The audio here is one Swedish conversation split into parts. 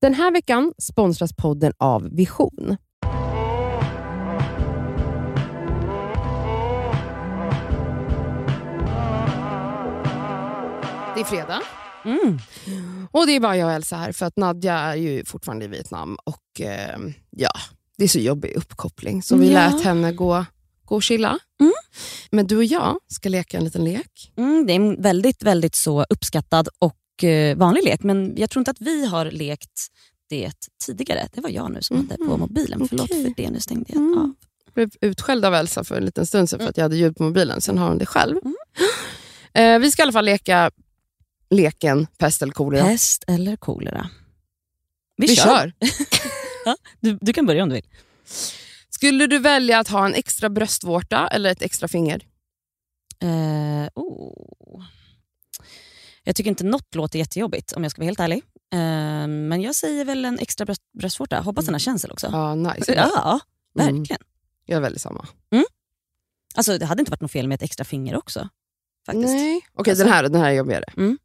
Den här veckan sponsras podden av Vision. Det är fredag Mm. Och det är bara jag och Elsa här, för att Nadja är ju fortfarande i Vietnam och eh, ja, det är så jobbig uppkoppling. Så vi Ja. lät henne gå, gå och chilla. Mm. Men du och jag ska leka en liten lek. Mm, det är en väldigt, väldigt så uppskattad och eh, vanlig lek, men jag tror inte att vi har lekt det tidigare. Det var jag nu som hade på Mhm. mobilen. Förlåt Okej. för det, nu stängde jag Mm. av. Jag blev utskälld av Elsa för en liten stund sedan för att jag hade ljud på mobilen. Sen har hon det själv. Mm. Eh, vi ska i alla fall leka leken pest eller kolera. Pest eller kolera? Vi, kör! Du, du kan börja om du vill. Skulle du välja att ha en extra bröstvårta eller ett extra finger? Eh, oh. Jag tycker inte något låter jättejobbigt om jag ska vara helt ärlig. Eh, men jag säger väl en extra bröst, bröstvårta. Hoppas den här känns eller också. Ja, Ah, nice. Ja, verkligen. Mm. Jag väljer samma. Alltså, det hade inte varit något fel med ett extra finger också. Faktiskt. Nej. Okej, Alltså- den, här, den här är jobbigare. Mm.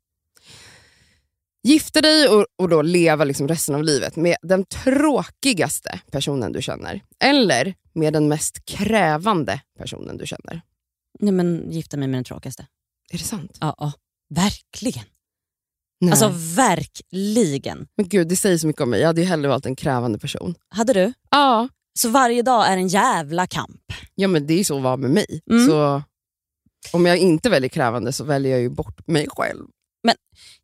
Gifta dig och, och då leva liksom resten av livet med den tråkigaste personen du känner. Eller med den mest krävande personen du känner. Nej, men gifta mig med den tråkigaste. Är det sant? Ja, ja. verkligen. Nej. Alltså verkligen. Men gud, det säger så mycket om mig. Jag hade ju hellre valt en krävande person. Hade du? Ja, Så varje dag är en jävla kamp. ja men det är ju så att vara med mig. Mm. Så om jag inte väljer krävande så väljer jag ju bort mig själv.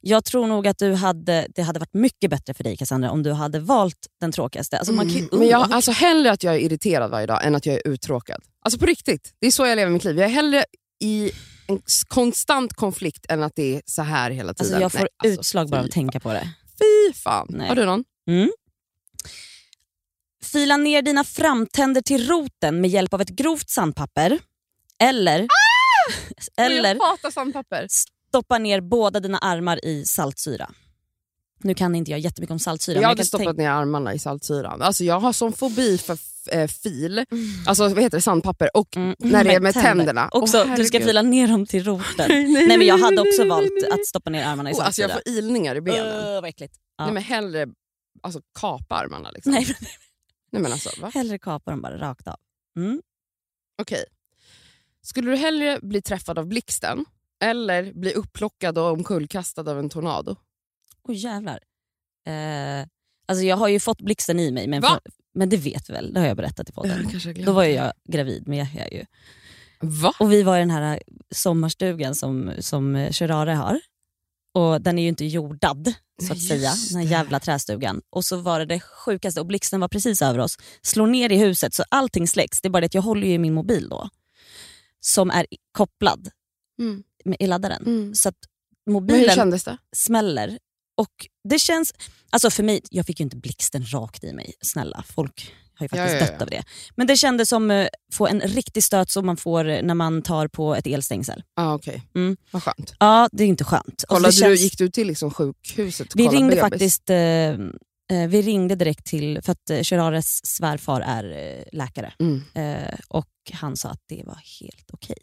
Jag tror nog att du hade, det hade varit mycket bättre för dig Cassandra om du hade valt den tråkigaste. Alltså, man kan, ju- Men jag, alltså hellre att jag är irriterad varje dag än att jag är uttråkad. Alltså på riktigt. Det är så jag lever mitt liv. Jag är hellre i en s- konstant konflikt än att det är så här hela tiden. Alltså jag får Nej, alltså, utslag bara av fy- att tänka på det. Fy fan. Nej. Har du någon? Fila ner dina framtänder till roten med hjälp av ett grovt sandpapper. Eller, Ah! eller Jag hatar sandpapper. stoppa ner båda dina armar i saltsyra. Nu kan inte jag jättemycket om saltsyra. Jag men hade kan stoppat tänka- ner armarna i saltsyran. Alltså jag har sån fobi för f- eh, fil, alltså vad heter det, sandpapper och Mm, när det är med tänderna. Också, Åh, du ska herregud. fila ner dem till roten. Nej, nej, Nej men jag nej, hade nej, också nej, valt nej, nej. att stoppa ner armarna i Åh, alltså saltsyra. jag får ilningar i benen. Öh, vad äckligt. ja. Nej, men hellre alltså, kapa armarna. Liksom. Nej, Nej. men men alltså, va? hellre kapa dem bara rakt av. Mm. Okej. Skulle du hellre bli träffad av blixten eller bli upplockad och omkullkastad av en tornado? Åh jävlar. Eh, alltså jag har ju fått blixten i mig, men, Va? Oh men det vet vi väl, det har jag berättat i podden. Kanske jag glömde. Då var ju jag gravid med Yahya ju. Va? Och vi var i den här sommarstugan som, som eh, Sherare har. Och den är ju inte jordad, så att Nej, säga, just den här det. jävla trästugan. Och så var det det sjukaste, och blixten var precis över oss. Slår ner i huset, så allting släcks. Det är bara det att jag håller ju i min mobil då, som är i- kopplad Mm. med, i laddaren. Mm. Så att Men hur mobilen kändes det? smäller. Och det känns, alltså för mig, jag fick ju inte blixten rakt i mig. Snälla, folk har ju Ja, faktiskt ja, ja. dött av det. Men det kändes som eh, få en riktig stöt som man får eh, när man tar på ett elstängsel. Ah, Okej, Mm. vad skönt. Ja, det är inte skönt. Och Kollade det känns- du, gick du till liksom sjukhuset och vi kollade ringde bebis? faktiskt eh, eh, vi ringde direkt till, för att eh, Sherares svärfar är eh, läkare Mm. eh, och han sa att det var helt okej.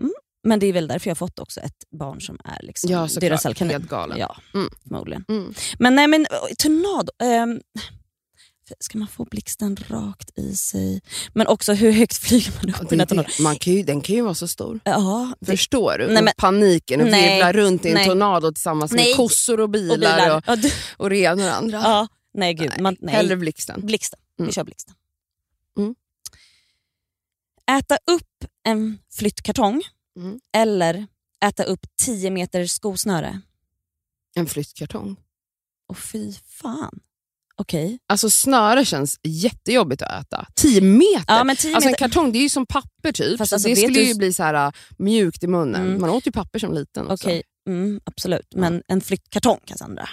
Mm. Men det är väl därför jag har fått också ett barn som är liksom Ja, såklart. Duracellkanin. Helt galen. Ja, Mm. förmodligen. Mm. Men nej, men oj, tornado. ehm, ska man få blixten rakt i sig? Men också hur högt flyger man Ja, upp det är i en det. tornado? Man kan ju, den kan ju vara så stor. Ja, det, Förstår du? Nej, Och men- Paniken och Nej. virvlar runt i en Nej. tornado tillsammans med Nej. kossor och bilar och, och bilar. Ja, du, och det ena och det andra. ja, nej, gud. Man, nej. Hellre blixten. Blixten. Mm. Vi kör blixten. Mm. Äta upp en flyttkartong Mm. eller äta upp 10 meter skosnöre. En flyttkartong. Och fy fan. Okej. Alltså snöre känns jättejobbigt att äta. 10 meter! Ja, men 10 Alltså en meter... kartong det är ju som papper typ. Fast så alltså, det vet skulle du- ju bli så här äh, mjukt i munnen. Mm. Man åt ju papper som liten också. Okej, mm, absolut. Men en flyttkartong, Cassandra.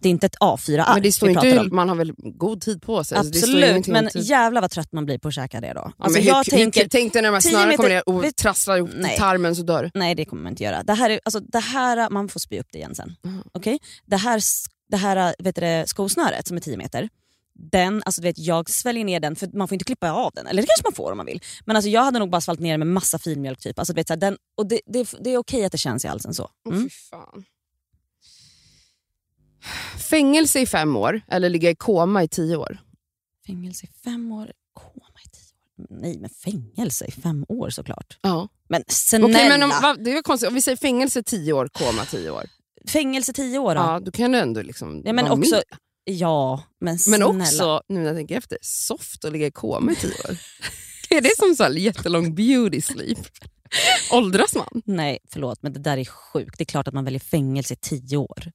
Det är inte ett A4-ark Men det står Ah, vi inte, pratar om. hur- man har väl god tid på sig? så det står Absolut, ingenting om men tid. jävla vad trött man blir på att käka det då. Ja, Alltså, men hur, jag hur, tänker, tänk dig när de här 10 snörena kommer ner och meter- trasslar ihop i Nej. tarmen så dör du. nej det kommer man inte göra. Det här, är, alltså, det här man får spy upp det igen sen. Mm. Okej? Det här, s- det här vet du, det, skosnöret som är 10 meter, den, alltså, du vet, jag sväljer ner den för man får inte klippa av den. Eller det kanske man får om man vill. Men alltså, jag hade nog bara svalt ner den med massa filmjölk typ. Alltså, du vet, så här, den, Mm. och det, det, det är okej att det känns i halsen så. Åh, Mm. fy fan. Fängelse i fem år eller ligga i koma i tio år? Fängelse i fem år, koma i tio år. Nej, men fängelse i fem år såklart. Ja. Men snälla! Okej, men om, va, det är väl konstigt. Om vi säger fängelse tio år, koma tio år. Fängelse tio år då? Ja, då kan du ändå liksom Ja, men vara också- med. Ja, men Men snälla. också, nu när jag tänker efter, soft att ligga i koma i tio år. är det som så här jättelång beauty sleep? Åldras man? Nej, förlåt men det där är sjukt. Det är klart att man väljer fängelse i tio år.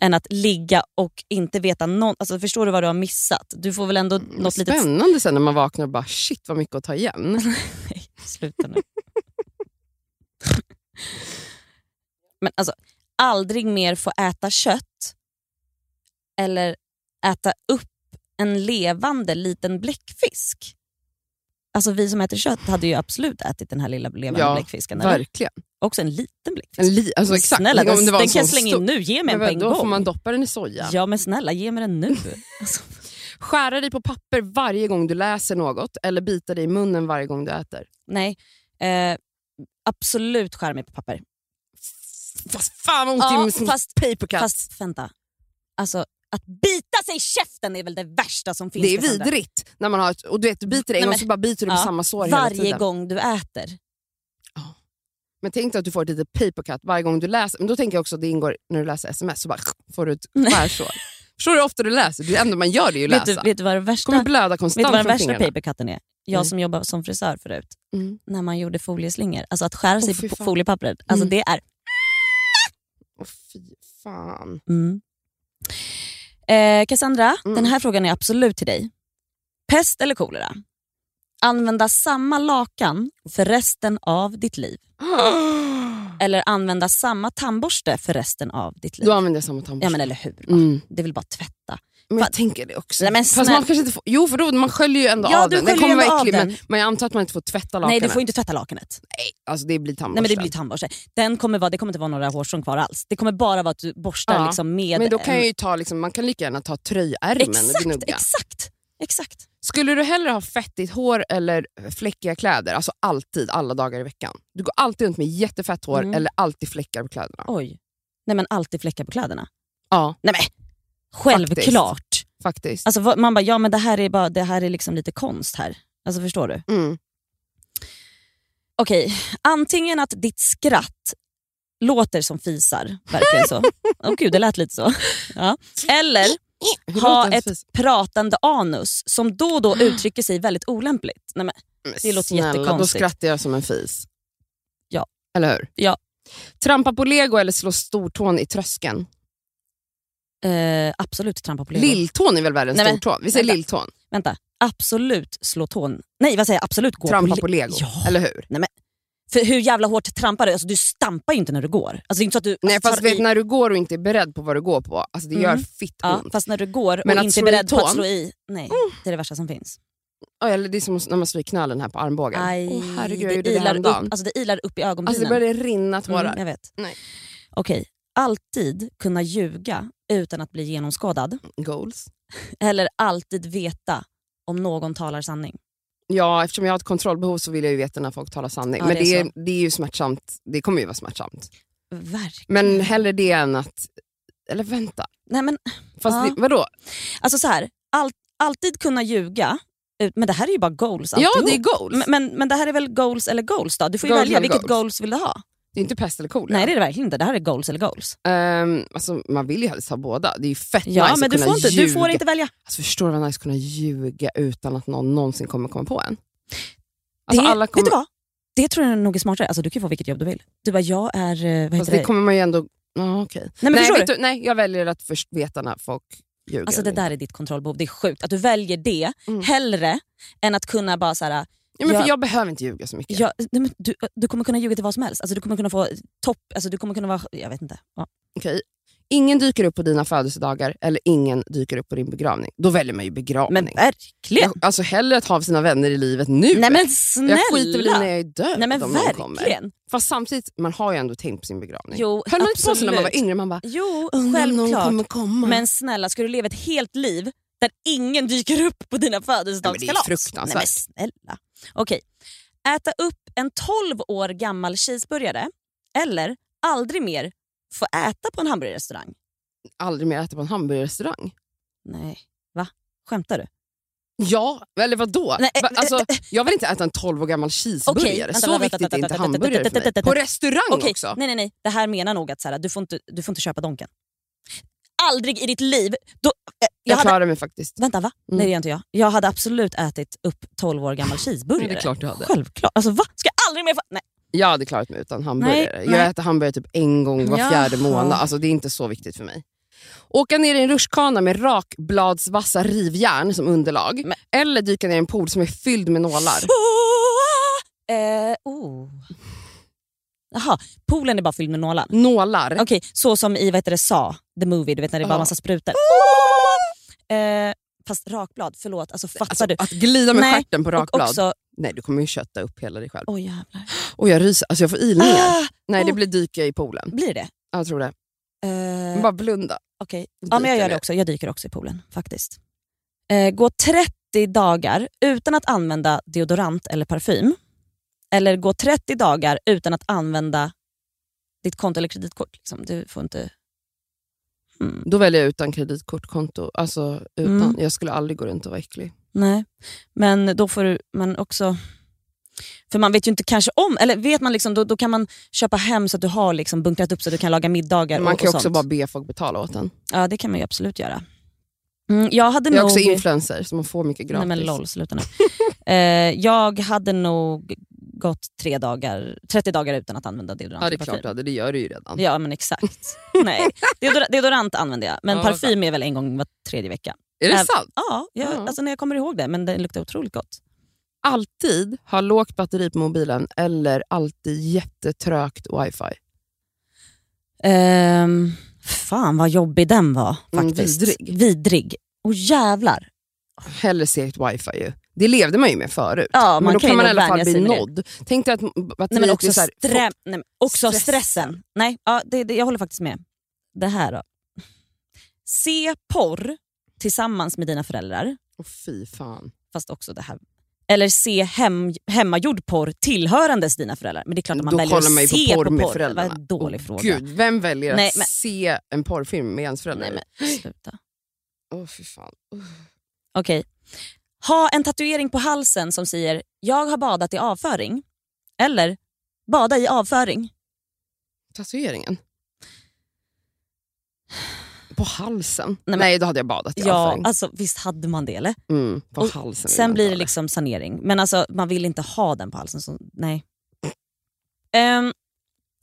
Än att ligga och inte veta någon, alltså Förstår du vad du har missat? Du får väl Mm, ändå Mm, något litet... Spännande sen när man vaknar och bara shit vad mycket att ta igen. Nej, sluta nu. men alltså, aldrig mer få äta kött eller äta upp en levande liten bläckfisk. Alltså vi som äter kött hade ju absolut ätit den här lilla levande Ja, bläckfisken. Eller? Verkligen. Också en liten bläckfisk. En li- alltså, exakt. Snälla, Tänk den, om det var en den sån kan jag slänga in stor- nu. Ge mig Men en på en Då gång. får man doppa den i soja. Ja men snälla, ge mig den nu. alltså, Skära dig på papper varje gång du läser något eller bita dig i munnen varje gång du äter. nej, eh, absolut skär mig på papper. Fast fan vad ont Ja, i som fast- papercut. Fast vänta, alltså att bita sig i käften är väl det värsta som finns. det är för Sandra. vidrigt. När man har ett, och du, vet, du biter dig en Nej, gång men- så bara biter du på Ja, samma sår hela Varje tiden. gång du äter. Men tänk dig att du får ett litet papercut varje gång du läser. Men då tänker jag också att det ingår när du läser sms så bara får du ett skärsår. Förstår du hur ofta du läser? Det enda man gör det är ju att Vet du, läsa. vet du vad det kommer värsta, blöda vet konstant du vad den från värsta fingrarna. papercutten är? Jag Nej. som jobbar som frisör förut, Mm. när man gjorde folieslingor, alltså att skära sig Åh, fy på fan. foliepappret, alltså Mm. det är... Åh, fy fan. Mm. Eh, Cassandra, Mm. den här frågan är absolut till dig. Pest eller kolera? Använda samma lakan för resten av ditt liv. Eller använda samma tandborste för resten av ditt liv. Då använder jag samma tandborste. Ja men eller hur? va? Mm. Det vill bara tvätta. Men Fan. jag tänker det också. Nej, men Fast man snälla. kanske inte får, jo, för då, man sköljer ju ändå Ja, av du den. Den sköljer kommer ändå vara av äcklig, men, den. men jag antar att man inte får tvätta Nej lakanen. du får ju inte tvätta lakanet. Nej, alltså det blir tandborsten. Nej men det blir tandborste. Den kommer vara, det kommer inte vara några hårstrån kvar alls. Det kommer bara vara att du borstar Ja, liksom med men då kan en- jag ju ta, liksom, man kan lika gärna ta tröjärmen och Exakt, gnugga. exakt, exakt. Skulle du hellre ha fettigt hår eller fläckiga kläder? Alltså alltid, alla dagar i veckan. Du går alltid runt med jättefett hår Mm. eller alltid fläckar på kläderna. Oj. Nej men alltid fläckar på kläderna. Ja, Nej men självklart. faktiskt. Alltså, vad- man bara, ja men det här är, bara, det här är liksom lite konst här. Alltså förstår du? Mm. Okej, antingen att ditt skratt låter som fisar, verkligen så. Åh gud, det lät lite så. Ja. Eller Hur ha låter ens ett fis? pratande anus som då och då uttrycker sig väldigt olämpligt. Nej, men, Men det låter snälla, Då jättekonstigt. skrattar jag som en fis. Ja. Eller hur? Ja. Trampa på lego eller slå stortån i tröskeln? eh, absolut trampa på lego. Lilltån är väl värre än Nej, men- stortån? Vi säger vänta. lilltån. Vänta, absolut slå tån. Nej, vad säger jag? Absolut gå Trampa le- på lego, Ja. eller hur? För hur jävla hårt trampar du? Alltså, du stampar ju inte när du går. Alltså, det är inte så att du Nej, alltså, fast tar vet, i- när du går och inte är beredd på vad du går på, alltså det gör Mm. fitt ja, ont. Fast när du går Men och att inte är slå i beredd på att tån? Mm. slå i, nej, det är det värsta som finns. Ja, Eller det är som när man slår i knallen här på armbågen. Aj, Åh, herregud, jag det, gjorde det ilar upp, häromdagen. alltså det ilar upp i ögonbrynen. Alltså det började rinna tårar. Mm, jag vet. Nej. Okej, alltid kunna ljuga utan att bli genomskådad. Goals. Eller alltid veta om någon talar sanning. Ja, eftersom jag har ett kontrollbehov så vill jag ju veta när folk talar sanning. Ja, Men det är det är, det är ju smärtsamt. Det kommer ju vara smärtsamt. Verkligen. Men hellre det än att... Eller vänta. Nej, men, Fast Ja. det, vadå? alltså så här, all, alltid kunna ljuga, ut- men det här är ju bara goals Ja, alltihop. det är goals. men, men, men det här är väl goals eller goals då? Du får ju Goals välja eller vilket goals? goals. vill du ha. Det är inte pest eller kolera. Nej det är det verkligen inte, det här är goals eller goals. Ehm, alltså, man vill ju helst ha båda. Det är ju fett Ja nice men att du kunna får, inte, du ljuga. får inte välja. Alltså, förstår du vad nice att kunna ljuga utan att någon någonsin kommer komma på en? Alltså, det, alla kommer, Vet du vad? Det tror jag är nog är smartare. Alltså, du kan ju få vilket jobb du vill. Du bara, jag är... eh, Vad heter Fast det? alltså, det kommer man ju ändå... Ja, okej. Nej, men Nej, förstår vet du? du, nej, jag väljer att först veta när folk ljuger. Alltså, det eller inte. där är ditt kontrollbehov. Det är sjukt att du väljer det Mm. hellre än att kunna bara så här, ja, men för jag- jag behöver inte ljuga så mycket. jag, nej, men du, du kommer kunna ljuga till vad som helst. Alltså, du kommer kunna få topp... Alltså, du kommer kunna vara... Jag vet inte. Ja. Okej. Ingen dyker upp på dina födelsedagar eller ingen dyker upp på din begravning. Då väljer man ju begravning. Men verkligen! jag, alltså hellre att ha sina vänner i livet nu. nej men snälla! jag skiter väl i när jag är död nej men om någon kommer. verkligen! Fast samtidigt, man har ju ändå tänkt på sin begravning. Jo, Höll man inte på så när man absolut. var yngre? Man bara, Jo, undrar om någon självklart. kommer komma. Men snälla, ska du leva ett helt liv där ingen dyker upp på dina födelsedagskalas? Nej, men det är fruktansvärt. Nej, men snälla. Okej. Äta upp en 12 år gammal cheeseburgare eller aldrig mer få äta på en hamburgerrestaurang. aldrig mer äta på en hamburgerrestaurang. Nej, va? Skämtar Mm, du? Ja, eller vadå? Nej, Va- eh, alltså, eh, jag vill inte äta en 12 år gammal cheeseburgare. Okej, vänta, så vänta, viktigt vänta, är vänta, inte vänta, hamburgare vänta, för mig. vänta, På vänta. restaurang Okej, också. nej, nej, nej. Det här menar nog att så här, du, får inte, du får inte köpa Donken. Aldrig i ditt liv. Då, eh, jag Jag hade, klarar mig faktiskt. vänta, va? Mm. Nej, det gör inte jag. Jag hade absolut ätit upp 12 år gammal cheeseburgare. Det är klart du hade. Självklart. Alltså, va? Ska jag aldrig mer få... Nej. Jag hade klarat mig utan hamburgare. Nej, jag nej. äter hamburgare typ en gång var Jaha. fjärde månad. Alltså, det är inte så viktigt för mig. Åka ner i en rutschkana med rakbladsvassa rivjärn som underlag. Men- Eller dyka ner i en pool som är fylld med nålar. Oh, ah. eh, oh. Jaha, poolen är bara fylld med nålar. Nålar? Okej, så som i vad heter det, Sa, the movie, du vet när det är bara Ja. Oh. massa sprutor. Eh, fast rakblad, förlåt. Alltså fattar Alltså, du? att glida med Nej, stjärten på Och rakblad. också... Nej, du kommer ju kötta upp hela dig själv. Åh jävlar. Och jag ryser, alltså jag får ilningar. Ah, Nej, det oh. blir dyka i poolen. blir det? Jag tror det. Eh, Bara blunda. Okej. Ja, men jag Dyker gör det ner. också. Jag dyker också i poolen faktiskt. Eh, gå 30 dagar utan att använda deodorant eller parfym. Eller gå 30 dagar utan att använda ditt konto eller kreditkort. Liksom. Du får inte... Mm. Då väljer jag utan kreditkortkonto. Alltså, utan, Mm. Jag skulle aldrig gå runt och vara äcklig. Nej, men då får du men också... För man vet ju inte kanske om, eller vet man liksom, då, då kan man köpa hem så att du har liksom bunkrat upp så att du kan laga middagar Man och, kan ju och också sånt. bara be folk betala åt en. Ja, det kan man ju absolut göra. Mm, jag hade Jag är nog... också influencer, så man får mycket Nej gratis. men lol, sluta nu. eh, jag hade nog gått tre dagar, 30 dagar utan att använda deodorant. Ja, det är och klart du parfym. hade. Det gör du ju redan. Ja men exakt. Nej. Deodor- deodorant använder jag, men Ja, parfym är väl en gång var tredje vecka. Är Äm. det sant? Ja, jag, Ja. Alltså, när jag kommer ihåg det, men den luktar otroligt gott. Alltid ha lågt batteri på mobilen eller alltid jättetrögt wifi. Ehm, fan vad jobbig den var Mm, faktiskt. vidrig. Vidrig. Åh jävlar. Hellre segt wifi ju. Det levde man ju med förut. Ja, men man då kan kan, ju man i nog alla fall vänja sig bli vid det. nådd. Tänk dig att batteriet Nej, men också, Typ, är så här, strä- nej, men också Stressen. stressen. Nej, ja, det, det, jag håller faktiskt med. Det här då. Se porr tillsammans med dina föräldrar. Åh, fy fan. Fast också det här. Eller se hem, hemmagjord porr tillhörandes dina föräldrar. Men det är klart att man Då väljer kollar att man ju se på porr på med porr. föräldrarna. Vad en dålig Åh, fråga. Gud, vem väljer Nej, att men- se en porrfilm med ens föräldrar? Nej, men, sluta. Åh, fy fan. Okej. Ha en tatuering på halsen som säger “Jag har badat i avföring” eller “Bada i avföring”. Tatueringen. På halsen? Nej, men- då hade jag badat i Ja, avföring. alltså, visst hade man det eller? Mm, på och halsen. vill Sen man blir inte det ha liksom sanering. Men alltså, man vill inte ha den på halsen. Så nej. Um,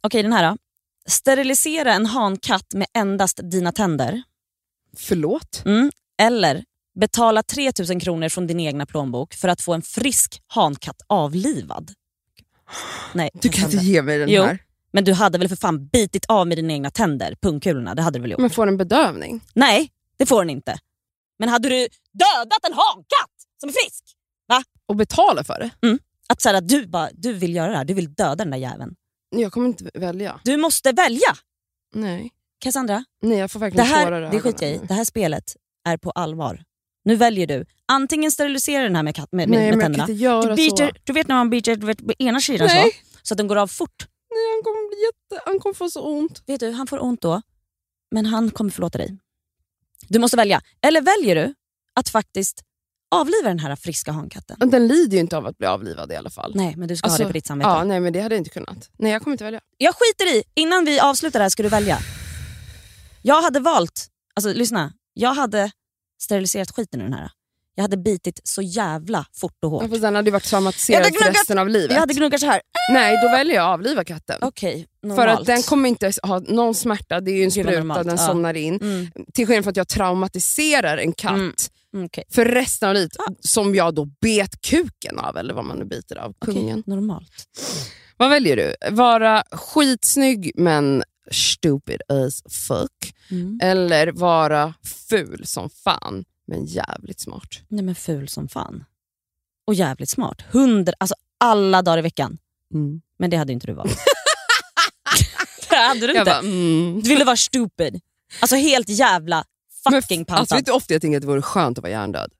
Okej, den här då. Sterilisera en hankatt med endast dina tänder. Förlåt? Mm. Eller betala 3 000 kronor från din egna plånbok för att få en frisk hankatt avlivad. Nej, Du kan inte tänder. ge mig den Jo. här. Men du hade väl för fan bitit av med dina egna tänder, pungkulorna. Det hade du väl gjort? Men får en bedövning? Nej, det får den inte. Men hade du dödat en hankatt som är frisk? Och betala för det? Att, så här, att du, bara, du vill göra det här, du vill döda den där jäveln. Jag kommer inte välja. Du måste välja! Nej. Cassandra, Nej, jag får det verkligen här, tårar i det skiter jag i. ögonen. Det här spelet är på allvar. Nu väljer du. Antingen sterilisera den här med, katt- med, med, Nej, med men jag kan tänderna. inte göra Du, så. biter, du vet när man biter du vet, med ena sidan så, Nej. så att den går av fort. Nej, han kommer, bli jätte... han kommer få så ont. Vet du, han får ont då, men han kommer förlåta dig. Du måste välja. Eller väljer du att faktiskt avliva den här friska hankatten? Men Den lider ju inte av att bli avlivad i alla fall. Nej, men du ska Alltså, ha det på ditt samvete. Ja, nej, men det hade jag inte kunnat. Nej, jag kommer inte välja. Jag skiter i, innan vi avslutar det här ska du välja. Jag hade valt, alltså lyssna, jag hade steriliserat skiten ur den här. Jag hade bitit så jävla fort och Ja, hårt. fast den hade ju varit traumatiserad Jag hade för gnuggat- resten av livet. Jag hade gnuggat så här. Nej, då väljer jag att avliva katten. Okej, Mm. För normalt. att den kommer inte ha någon smärta, det är ju en Gud, vad spruta, normalt, den ja. somnar in. mm, Till skillnad från att jag traumatiserar en katt Mm. mm, okej. för resten av livet, Ja. som jag då bet kuken av, eller vad man nu biter av, Okej, kungen. normalt. Vad väljer du? Vara skitsnygg men stupid as fuck, Mm. eller vara ful som fan men jävligt smart? Nej men ful som fan. Och jävligt smart. Hundra, alltså alla dagar i veckan. Men det hade ju inte du valt. det hade du Jag inte. bara, mm. Du ville vara stupid. Alltså helt jävla fucking pantad. Alltså, vet du hur ofta jag tänker att det vore skönt att vara hjärndöd?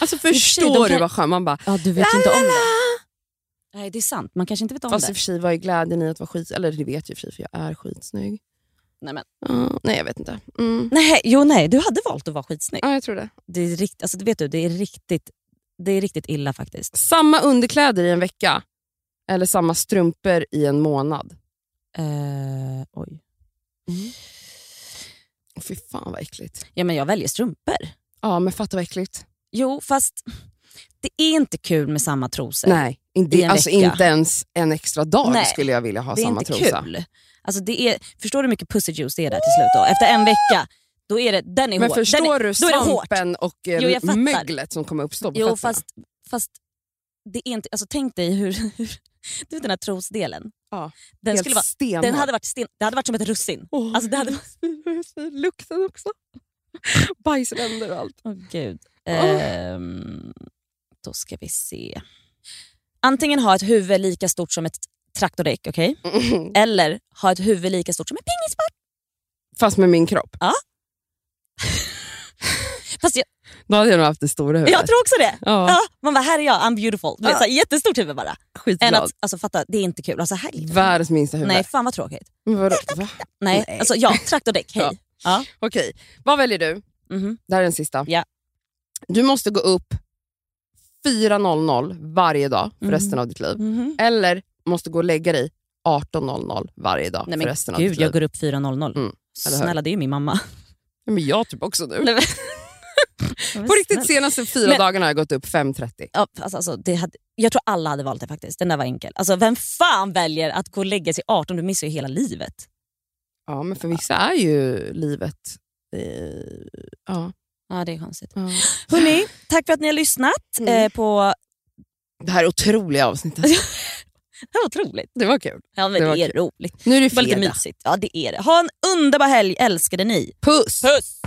Alltså sig, typ de förstår du kan- vad skönt? Man bara, ja, du vet ju inte om det. Nej det är sant, man kanske inte vet om fast i det. och för sig vad är glädjen i att vara skit... Eller det vet jag i och för sig för jag är skitsnygg. Nej, men. Ja, nej, jag vet inte. Mm. Nej, jo, nej, du hade valt att vara skitsnygg. Ja, jag tror det. Det är rikt, alltså, vet du, det är riktigt, det är riktigt illa faktiskt. Samma underkläder i en vecka eller samma strumpor i en månad. Eh, oj. Åh, Fy fan vad äckligt. Ja, men jag väljer strumpor. Ja, men fatta vad äckligt. Jo, fast det är inte kul med samma trosor. Nej, in, I det, en alltså vecka. inte ens en extra dag Nej, skulle jag vilja ha det är samma inte trosa. kul. Alltså, det är, förstår du hur mycket pussyjuice det är där till slut? Då? Efter en vecka, då är det, den är Men hård. Den är, förstår du då är det hårt. svampen och eh, Jo, jag fattar. möglet som kommer uppstå på Jo, fötterna? fast, fast det är inte, alltså, tänk dig hur, hur du vet den här trosdelen. Ja, den, Helt skulle vara, stenhård. den hade varit sten, det hade varit som ett russin. Åh, alltså, det hade- jag svir vad jag svir. Lukten också. Bajsränder och allt. Åh gud. Åh. Ehm, då ska vi se. Antingen ha ett huvud lika stort som ett traktordäck, okej? Mm. Eller ha ett huvud lika stort som en pingisboll. Fast med min kropp. Fast jag, Då hade jag nog haft det stora huvudet. jag tror också det. Ja, Ja, man bara, här är jag, I'm beautiful. Du vet, Ja. så här, jättestort huvud bara. skitglad. Än att, alltså fatta, det är inte kul. Alltså, här, Världens minsta huvud. nej, fan vad tråkigt. Men vadå? Va? Nej, Nej. alltså ja, traktordäck, hej. Ja. Ja. Ja. Okej, vad väljer du? mhm. Det här är den sista. Ja. Du måste gå upp 4.00 varje dag för Mm. resten av ditt liv. Mhm. Eller måste gå och lägga dig 18.00 varje dag Nej för men resten av gud, ditt liv. jag går upp 4.00. Mm, eller hur? Snälla, det är ju min mamma. Nej, Men jag typ också nu. Nej, men- På riktigt, senaste fyra Men- dagarna har jag gått upp 5.30. Ja, alltså, alltså, det hade, jag tror alla hade valt det faktiskt. Den där var enkel. Alltså, vem fan väljer att gå och lägga sig 18? Du missar ju hela livet. Ja, men för vissa är ju livet... Eh, ja, Ja, det är konstigt. ja. Hörrni, tack för att ni har lyssnat Mm. eh, på... Det här otroliga avsnittet. Det var otroligt. Det var kul. Ja, men Det det, var är roligt. Nu är det Det var lite fredag. mysigt. Ja, det är det. Ha en underbar helg, älskade ni. Puss! Puss!